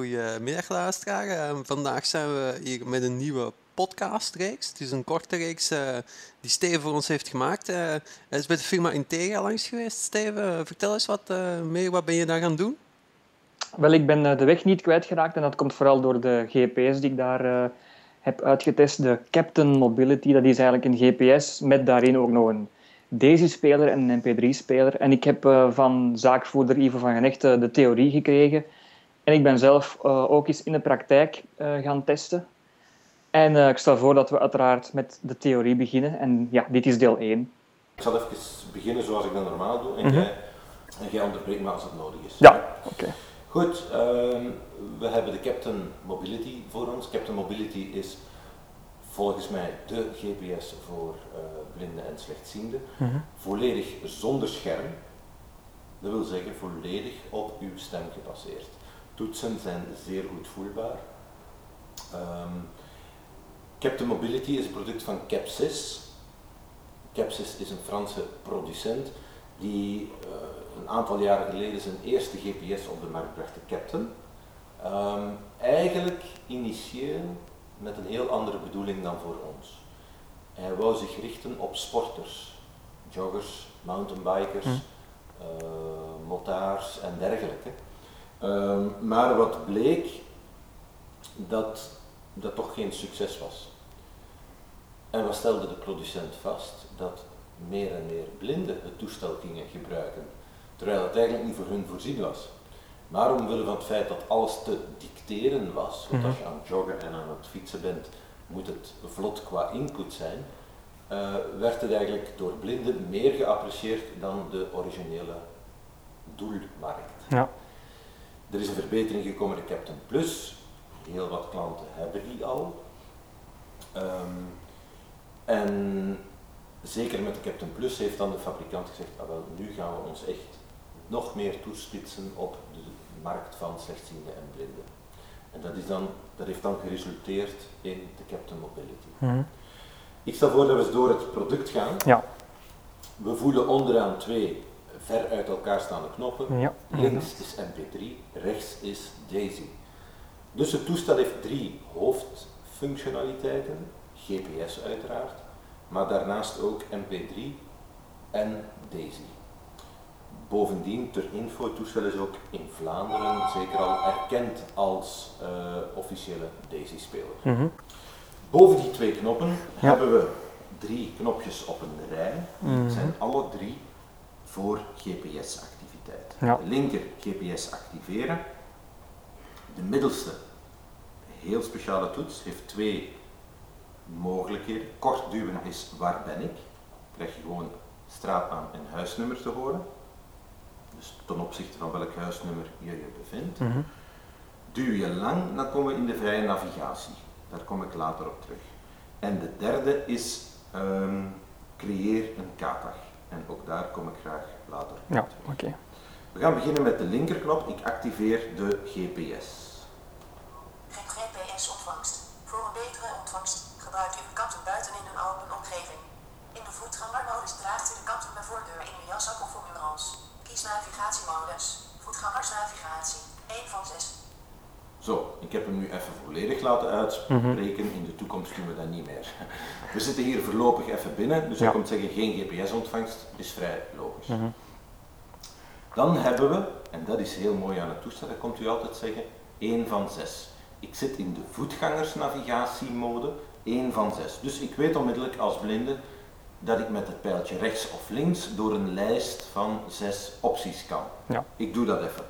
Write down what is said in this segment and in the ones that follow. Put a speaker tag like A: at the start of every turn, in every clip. A: Goedemiddag luisteraar. Eh, vandaag zijn we hier met een nieuwe podcastreeks. Het is een korte reeks eh, die Steven voor ons heeft gemaakt. Eh, hij is bij de firma Integra langs geweest. Steven, vertel eens wat eh, meer. Wat ben je daar gaan doen?
B: Wel, ik ben eh, de weg niet kwijtgeraakt en dat komt vooral door de GPS die ik daar eh, heb uitgetest. De Captain Mobility, dat is eigenlijk een GPS met daarin ook nog een Daisy-speler en een MP3-speler. En ik heb eh, van zaakvoerder Ivo van Genechte de theorie gekregen. En ik ben zelf eh, ook eens in de praktijk eh, gaan testen. En eh, ik stel voor dat we uiteraard met de theorie beginnen. En ja, dit is deel 1.
C: Ik zal even beginnen zoals ik dat normaal doe en, jij, en jij onderbreekt me als het nodig is.
B: Ja, oké.
C: Goed, ehm, we hebben de Captain Mobility voor ons. Captain Mobility is volgens mij de GPS voor eh, blinden en slechtzienden. Volledig zonder scherm. Dat wil zeggen volledig op uw stem gebaseerd. Toetsen zijn zeer goed voelbaar. Ehm, Captain Mobility is een product van Capsys. Capsys is een Franse producent die eh, een aantal jaren geleden zijn eerste GPS op de markt bracht, de Captain. Ehm, eigenlijk initieel met een heel andere bedoeling dan voor ons. Hij wou zich richten op sporters, joggers, mountainbikers, eh, motards en dergelijke. Ehm, maar wat bleek, dat dat toch geen succes was. En wat stelde de producent vast? Dat meer en meer blinden het toestel gingen gebruiken, terwijl het eigenlijk niet voor hun voorzien was. Maar omwille van het feit dat alles te dicteren was, want als je aan het joggen en aan het fietsen bent, moet het vlot qua input zijn, eh, werd het eigenlijk door blinden meer geapprecieerd dan de originele doelmarkt.
B: Ja.
C: Er is een verbetering gekomen in de Captain Plus. Heel wat klanten hebben die al. Ehm, en zeker met de Captain Plus heeft dan de fabrikant gezegd, ah, wel, nu gaan we ons echt nog meer toespitsen op de markt van slechtzienden en blinden. En dat, is dan, dat heeft dan geresulteerd in de Captain Mobility. Ik stel voor dat we eens door het product gaan.
B: Ja.
C: We voelen onderaan twee ver uit elkaar staande knoppen.
D: Mm.
B: Ja.
D: Hm.
C: Links is MP3, rechts is Daisy. Dus het toestel heeft drie hoofdfunctionaliteiten, GPS uiteraard, maar daarnaast ook MP3 en Daisy. Bovendien, ter info, het toestel is ook in Vlaanderen zeker al erkend als eh, officiële Daisy-speler. Boven die twee knoppen
B: Ja.
C: hebben we drie knopjes op een rij. Die
A: Mm.
C: zijn alle drie voor GPS-activiteit.
B: Ja.
C: De linker GPS activeren. De middelste, heel speciale toets, heeft twee mogelijkheden. Kort duwen is waar ben ik. Krijg je gewoon straatnaam en huisnummer te horen. Dus ten opzichte van welk huisnummer je je bevindt. Duw je lang, dan komen we in de vrije navigatie. Daar kom ik later op terug. En de derde is ehm, creëer een kaartdag. En ook daar kom ik graag later op
B: Ja,
C: terug.
B: oké.
C: We gaan beginnen met de linkerknop. Ik activeer de GPS.
E: Geen GPS-ontvangst. Voor een betere ontvangst gebruikt u uw kanten buiten in een open omgeving. In de voetgangermodus draagt u de kanten bij voordeur in uw jaszak of om uw hals. Kies navigatiemodus. Voetgangersnavigatie. 1 van 6.
C: Zo, ik heb hem nu even volledig laten uitspreken.
B: Mhm.
C: In de toekomst doen we dat niet meer. We zitten hier voorlopig even binnen, dus
B: Ja. Mhm.
C: dan komt zeggen geen GPS-ontvangst, is vrij logisch. Dan hebben we, en dat is heel mooi aan het toestel, dat komt u altijd zeggen, 1 van 6. Ik zit in de voetgangersnavigatiemode, 1 van 6. Dus ik weet onmiddellijk als blinde dat ik met het pijltje rechts of links door een lijst van 6 opties kan.
B: Ja.
C: Ik doe dat even.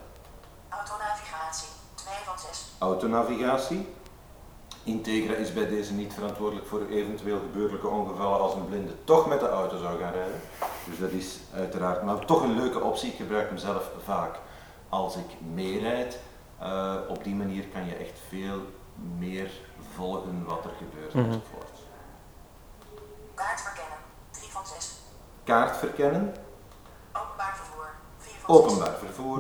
E: Autonavigatie. 2 van 6.
C: Autonavigatie. Integra is bij deze niet verantwoordelijk voor eventueel gebeurlijke ongevallen als een blinde toch met de auto zou gaan rijden. Dus dat is uiteraard, maar toch een leuke optie. Ik gebruik hem zelf vaak als ik meerijd. Eh, op die manier kan je echt veel meer volgen wat er gebeurt enzovoort.
E: Kaart verkennen. 3 van 6.
C: Kaart verkennen,
E: Openbaar vervoer. 4 van 6.
C: openbaar vervoer,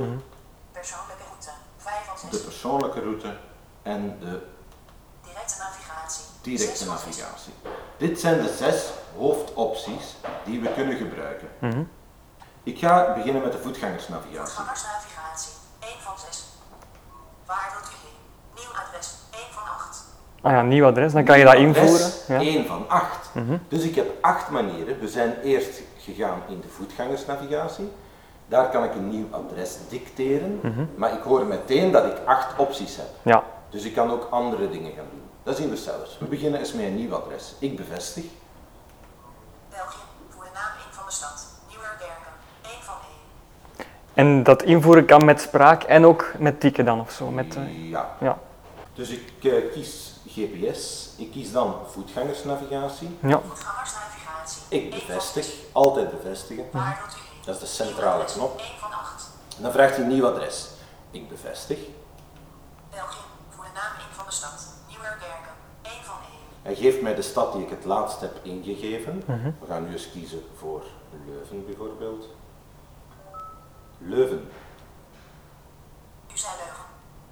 E: Persoonlijke route. 5 van 6.
C: de persoonlijke route en de
E: Directe navigatie.
C: directe
E: 6 van 6.
C: navigatie. Dit zijn de zes hoofdopties die we kunnen gebruiken.
D: Mhm.
C: Ik ga beginnen met de voetgangersnavigatie.
E: Voetgangersnavigatie. 1 van 6. Waar wilt u heen? Nieuw adres 1 van 8.
D: Ah ja, nieuw adres, dan kan je dat invoeren.
C: Adres,
D: Ja. Mhm.
C: één van acht. Dus ik heb acht manieren. We zijn eerst gegaan in de voetgangersnavigatie. Daar kan ik een nieuw adres dicteren,
D: Mhm.
C: maar ik hoor meteen dat ik acht opties heb.
D: ja.
C: Dus ik kan ook andere dingen gaan doen. Dat zien we zelfs. We beginnen eens met een nieuw adres. Ik bevestig.
E: België, voor de naam 1 van de stad. Nieuwerbergen, 1 van 1.
D: En dat invoeren kan met spraak en ook met tikken dan of zo. Met, eh,
C: Ja.
D: ja.
C: Dus ik eh, kies GPS. Ik kies dan voetgangersnavigatie.
D: ja.
E: Voetgangersnavigatie.
C: Ik
E: één van acht.
C: bevestig. Altijd bevestigen.
E: Waar wilt u heen?
C: Dat is de centrale knop.
E: 1 van 8.
C: En dan vraagt hij een nieuw adres. Ik bevestig.
E: België, voor de naam 1 van de stad. Nieuwerbergen, 1 van 1.
C: Hij geeft mij de stad die ik het laatst heb ingegeven.
D: Mhm.
C: We gaan nu eens kiezen voor Leuven bijvoorbeeld. Leuven
E: U zei Leuven.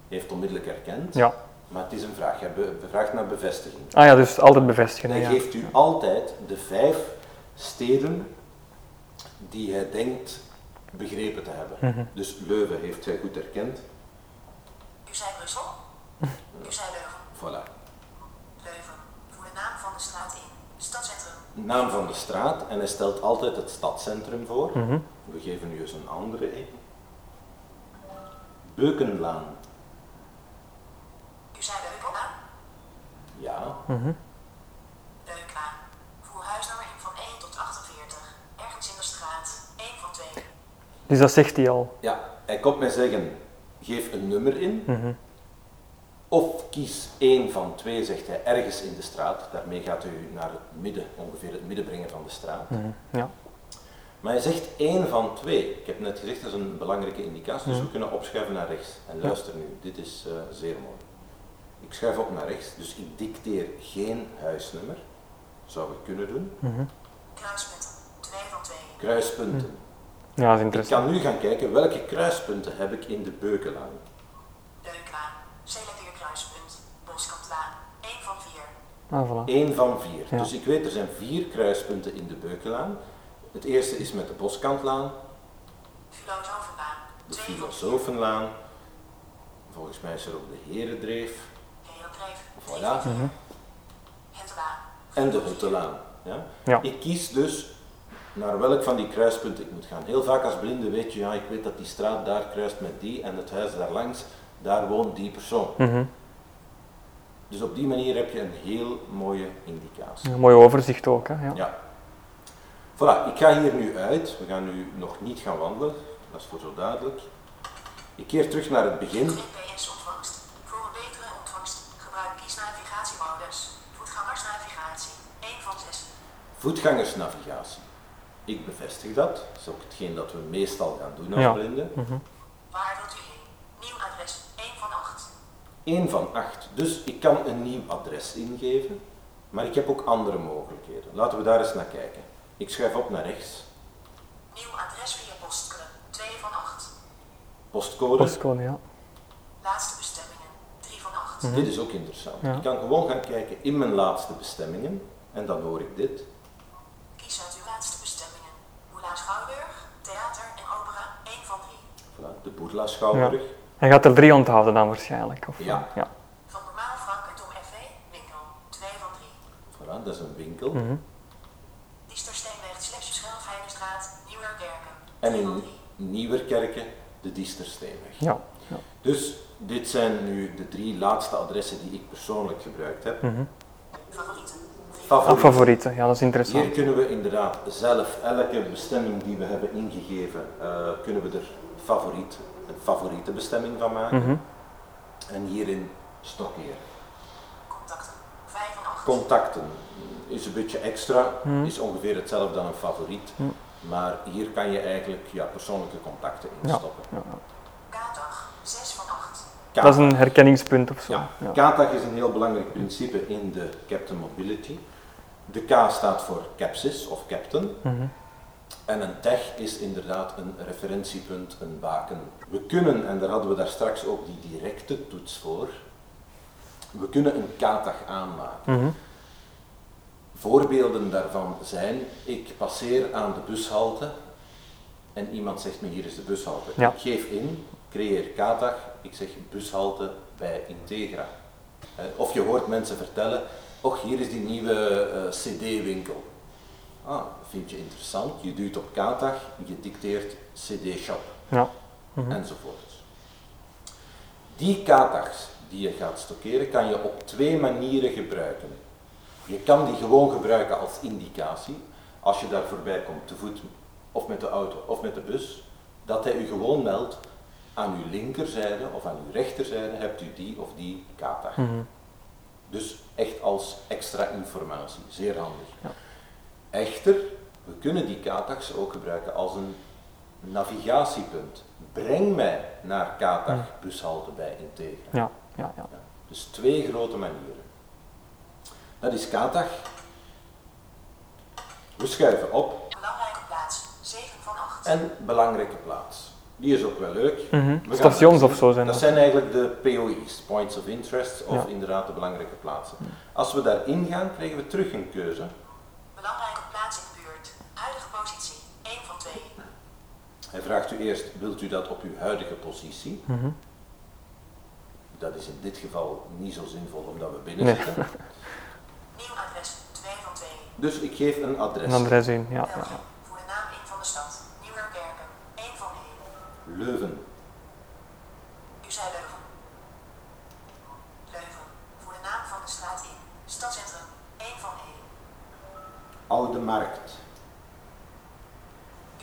C: heeft onmiddellijk erkend,
D: ja.
C: maar het is een vraag. Hij be- vraagt naar bevestiging.
D: Ah ja, dus altijd
C: En
D: bevestigen.
C: hij
D: hè, Ja.
C: geeft u altijd de vijf steden die hij denkt begrepen te hebben.
D: Mhm.
C: Dus Leuven heeft hij goed erkend.
E: U zei Brussel. U zei Leuven.
C: Voilà.
E: Leuven, voor de naam van de straat in. Stadcentrum.
C: naam van de straat en hij stelt altijd het stadscentrum voor. We geven nu eens een andere in. Beukenlaan,
E: U zei Leuven aan.
C: ja.
E: Leuk aan. Voor huisnummer 1 van 1 tot 48. Ergens in de straat. 1 van 2.
D: Dus dat zegt hij al.
C: Ja, hij komt mij zeggen, geef een nummer in.
D: Mhm.
C: Of kies één van twee, zegt hij, ergens in de straat. Daarmee gaat u naar het midden, ongeveer het midden brengen van de straat.
D: Mhm, Ja.
C: Maar hij zegt één van twee. Ik heb net gezegd, dat is een belangrijke indicatie. Dus
D: Mhm.
C: we kunnen opschuiven naar rechts. En luister nu, dit is eh, zeer mooi. Ik schuif op naar rechts, dus ik dicteer geen huisnummer. Zou ik kunnen doen.
E: Kruispunten. 2 van 2.
C: Kruispunten.
D: Mhm. ja, dat is
C: Ik
D: interessant.
C: kan nu gaan kijken welke kruispunten heb ik in de Beukenlaan.
E: Leuk aan. Selecteer kruispunt. Boskantlaan. 1 van 4.
D: Ah, voilà.
C: Eén van vier.
D: Ja.
C: Dus ik weet, er zijn vier kruispunten in de Beukenlaan. Het eerste is met de Boskantlaan,
E: Filosofenbaan.
C: de
E: 2 van 4.
C: Filosofenlaan. Volgens mij is er ook de Herendreef.
E: Heelbreef.
C: Voilà.
E: Hentebaan.
C: en de Huttelaan. Ja?
D: Ja.
C: Ik kies dus naar welk van die kruispunten ik moet gaan. Heel vaak als blinde weet je, ja, ik weet dat die straat daar kruist met die en het huis daar langs, daar woont die persoon.
D: Mhm.
C: Dus op die manier heb je een heel mooie indicatie.
D: Een mooi overzicht ook. Hè? Ja.
C: Ja. Voilà, ik ga hier nu uit. We gaan nu nog niet gaan wandelen, dat is voor zo duidelijk. Ik keer terug naar het begin.
E: GPS ontvangst. Voor een betere ontvangst gebruik kies navigatiemodus. Voetgangersnavigatie. 1 van 6.
C: Voetgangersnavigatie. Ik bevestig dat. Dat is ook hetgeen dat we meestal gaan doen als
D: Ja.
C: blinden.
E: Waar wilt u heen? Nieuw adres. 1 van 8.
C: 1 van 8. Dus ik kan een nieuw adres ingeven, maar ik heb ook andere mogelijkheden. Laten we daar eens naar kijken. Ik schuif op naar rechts.
E: Nieuw adres via postcode. 2 van 8.
C: Postcode.
D: Postcode, ja.
E: Laatste bestemmingen. 3 van 8.
C: Dit is ook interessant.
D: Ja.
C: Ik kan gewoon gaan kijken in mijn laatste bestemmingen en dan hoor ik dit.
E: Kies uit uw laatste bestemmingen. Boela Schouwburg, theater en opera. 1 van 3.
C: Voilà, de Boerla Schouwburg.
D: Hij gaat er drie onthouden dan waarschijnlijk. Of,
C: Ja.
D: ja.
E: Van normaal Frank en Tom FV, winkel. 2 van 3.
C: Voilà, dat is een winkel.
D: Mhm.
E: Diestersteenweg slash Schelfheidenstraat, Nieuwerkerken.
C: En
E: 3 van
C: in
E: 3.
C: Nieuwerkerken de Diestersteenweg.
D: Ja. Ja.
C: Dus dit zijn nu de drie laatste adressen die ik persoonlijk gebruikt heb.
D: Mhm.
E: Favorieten. 3
D: Ah,
C: Favoriet.
D: favorieten, ja, dat is
C: Hier
D: interessant.
C: kunnen we inderdaad zelf elke bestemming die we hebben ingegeven, eh, kunnen we er favoriet, een favoriete bestemming van maken.
D: Mhm.
C: En hierin stockeer.
E: contacten. 5 van 8.
C: Contacten is een beetje extra,
D: Mhm.
C: is ongeveer hetzelfde dan een favoriet. Maar hier kan je eigenlijk ja, persoonlijke contacten in
D: Ja.
C: stoppen.
E: Kaartdag, 6 van 8.
C: Ka-
D: Dat is een herkenningspunt of zo.
C: Ja,
D: Ja.
C: KTAG is een heel belangrijk principe in de Captain Mobility. De K staat voor capsis of captain.
D: Mhm.
C: En een tag is inderdaad een referentiepunt, een baken. We kunnen, en daar hadden we daar straks ook die directe toets voor, we kunnen een KTAG aanmaken.
D: Mhm.
C: Voorbeelden daarvan zijn, ik passeer aan de bushalte en iemand zegt me hier is de bushalte.
D: Ja.
C: Ik geef in, creëer KTAG, ik zeg bushalte bij Integra. Eh, Of je hoort mensen vertellen, och hier is die nieuwe eh, cd-winkel. Ah, vind je interessant, je duwt op K-dag, je dicteert cd-shop
D: Ja.
C: enzovoort. Die K-dags die je gaat stockeren kan je op twee manieren gebruiken. Je kan die gewoon gebruiken als indicatie, als je daar voorbij komt, te voet of met de auto of met de bus, dat hij u gewoon meldt aan uw linkerzijde of aan uw rechterzijde hebt u die of die K-dag. Dus echt als extra informatie, zeer handig. Echter, we kunnen die K-dags ook gebruiken als een navigatiepunt. Breng mij naar K-dag bushalte bij Integra.
D: Ja. Ja. Ja.
C: Ja, Dus twee grote manieren. Dat is K-dag. We schuiven op
E: Belangrijke plaats. 7 van 8.
C: en belangrijke plaats. Die is ook wel leuk.
D: Mhm.
C: We gaan
D: Stations
C: dat
D: of zo zijn
C: Dat
D: dat.
C: zijn eigenlijk de POI's, Points of Interest, of
D: Ja.
C: inderdaad de belangrijke plaatsen. Als we daarin gaan, krijgen we terug een keuze.
E: Belangrijke plaats in de buurt. Huidige positie. 1 van 2.
C: Hij vraagt u eerst, wilt u dat op uw huidige positie?
D: Mhm.
C: Dat is in dit geval niet zo zinvol omdat we binnen
D: Nee.
C: zitten.
E: Nieuw adres. 2 van 2.
C: Dus ik geef een
D: Een
C: adres.
D: adres in. Ja. Ja.
E: België. Voor de naam 1 van de stad. Nieuwerkerken. 1 van 1.
C: Leuven.
E: U zei Leuven. Leuven. Voor de naam van de straat in. Stadcentrum. 1 van 1.
C: Oude Markt.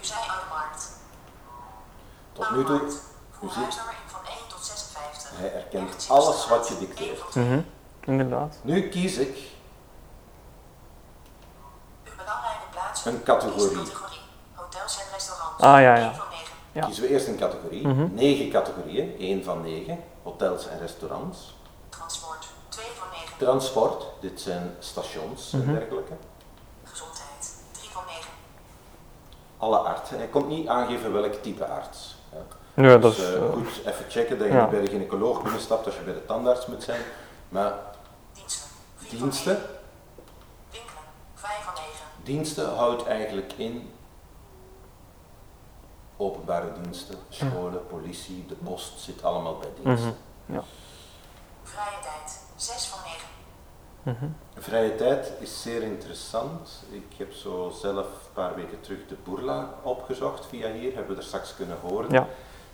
E: U zei Oude Markt.
C: Tot nu toe, u
E: Voor
C: ziet,
E: huisnummer in van 1 tot 56.
C: Hij herkent
E: Ergens in
C: alles
E: de straat.
C: wat je dicteert.
E: Eén van
D: Ja.
E: twee.
D: Mhm. Inderdaad.
C: nu kies ik
E: Uw belangrijke plaats.
C: Een categorie.
E: Is categorie. Hotels en restaurants.
D: Ah, ja, ja.
E: Eén van 9.
D: Ja. Mhm.
C: Kiezen we eerst een categorie. Negen categorieën, één van negen. Hotels en restaurants.
E: Transport. 2 van 9.
C: Transport, dit zijn stations
D: Mhm.
C: en dergelijke.
E: Gezondheid. 3 van 9.
C: Alle artsen. Hij komt niet aangeven welk type arts. hè.
D: Ja, dat
C: dus
D: is.
C: eh,
D: eh,
C: goed even checken dat je
D: ja.
C: niet bij de gynaecoloog binnenstapt als je bij de tandarts moet zijn. Maar
E: Diensten. Vier van
C: diensten,
E: negen. Winkelen. 5 van 9.
C: diensten houdt eigenlijk in openbare diensten, scholen, politie, de post zit allemaal bij
D: Mhm.
C: diensten.
E: Vrije tijd. 6 van 9.
C: Vrije tijd is zeer interessant. Ik heb zo zelf een paar weken terug de Boerla opgezocht via hier, hebben we er straks kunnen horen.
D: Ja.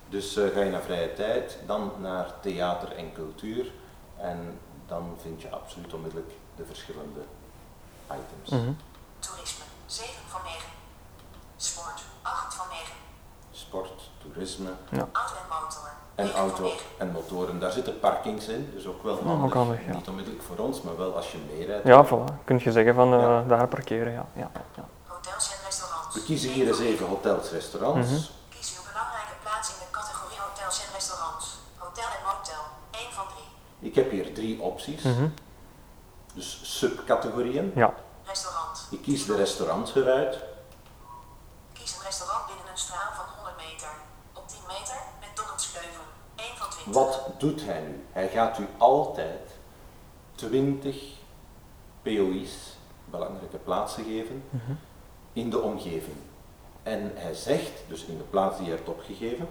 C: Dus eh, ga je naar vrije tijd, dan naar theater en cultuur en dan vind je absoluut onmiddellijk de verschillende items.
D: Mhm.
E: Toerisme. 7 van 9. Sport. 8 van 9.
C: Sport, toerisme
E: Auto en motor.
C: en
E: negen van
C: auto
E: negen.
C: en motoren. Daar zitten parkings in, dus ook wel handig.
D: Oh, ook handig, ja.
C: Niet onmiddellijk voor ons, maar wel als je meerijdt.
D: Ja, voilà. Kun je zeggen van eh,
C: Ja.
D: daar parkeren. Ja. Ja. Ja.
E: Hotels en restaurants.
C: We kiezen
E: Eén
C: hier
E: van
C: eens even hotels, restaurants.
D: Mhm.
E: Kies uw belangrijke plaats in de categorie hotels en restaurants. Hotel en motel. 1 van 3.
C: Ik heb hier drie opties, dus subcategorieën.
D: ja.
E: Restaurant.
C: Ik kies de restaurants eruit.
E: Kies een restaurant binnen een straal van 100 meter. Op 10 meter met Donalds Leuven. 1 van 20.
C: Wat doet hij nu? Hij gaat u altijd 20 POI's, belangrijke plaatsen geven,
D: Mhm.
C: in de omgeving. En hij zegt, dus in de plaats die hij heeft opgegeven,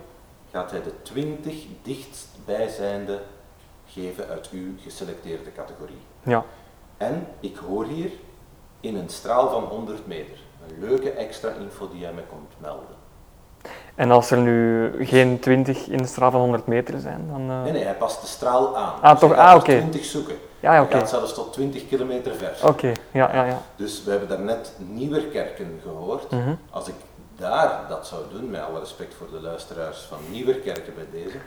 C: gaat hij de 20 dichtstbijzijnde geven uit uw geselecteerde categorie.
D: ja.
C: En ik hoor hier in een straal van 100 meter. Een leuke extra info die hij me komt melden.
D: En als er nu geen 20 in de straal van 100 meter zijn, dan. eh,
C: Nee, nee, hij past de straal aan.
D: Ah,
C: Dus
D: toch?
C: hij gaat
D: Ah,
C: er
D: oké.
C: 20 zoeken.
D: Ja, ja,
C: Hij
D: oké. Oh.
C: gaat zelfs tot 20 kilometer ver.
D: Oké, ja, ja, ja.
C: Dus we hebben daarnet Nieuwerkerken gehoord.
D: Mhm.
C: Als ik daar dat zou doen, met alle respect voor de luisteraars van Nieuwerkerken bij deze,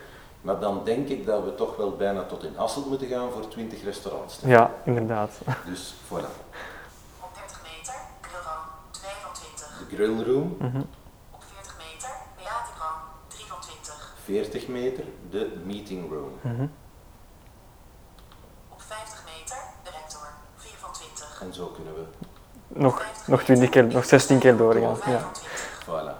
C: maar dan denk ik dat we toch wel bijna tot in Hasselt moeten gaan voor 20 restaurants.
D: Ja, inderdaad.
C: Dus voilà.
E: Op 30 meter Grillroom. 2 van 20.
C: De grillroom,
D: Mhm.
E: Op 40 meter Beatenroom. 3 van 20.
C: 40 meter, de meeting room.
D: Mhm.
E: Op 50 meter de rector. 4 van 20.
C: En zo kunnen we,
D: Nog, nog 20 keer, nog 16 keer doorgaan. Ja.
C: voilà.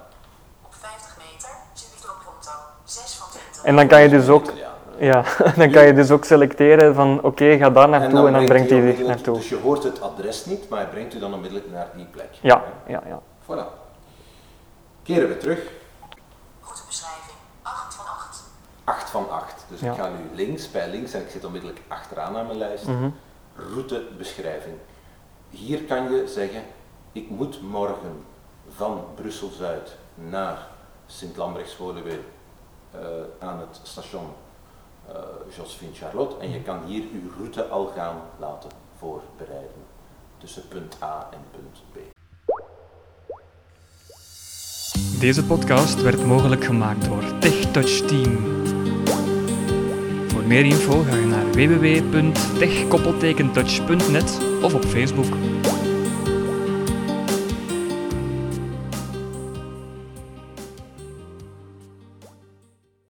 E: Op 50 meter Subito Pronto. 6 van 20.
D: En dan kan je dus ook,
C: Ja.
D: ja, dan kan je dus ook selecteren van oké, ga daar naartoe en dan brengt hij
C: onmiddellijk-
D: dit naartoe.
C: Dus je hoort het adres niet, maar hij brengt u dan onmiddellijk naar die plek.
D: Ja, ja, ja.
C: Voilà. Keren we terug.
E: Goede beschrijving. 8 van 8.
C: 8 van 8. Dus
D: Ja.
C: ik ga nu links bij links en ik zit onmiddellijk achteraan aan mijn lijst. Routebeschrijving. Hier kan je zeggen, ik moet morgen van Brussel-Zuid naar Sint-Lambrechts-Woluwe eh, aan het station eh Josephine-Charlotte. En je kan hier uw route al gaan laten voorbereiden tussen punt A en punt B.
D: Deze podcast werd mogelijk gemaakt door TechTouch Team. Voor meer info ga je naar www.techkoppeltekentouch.net of op Facebook.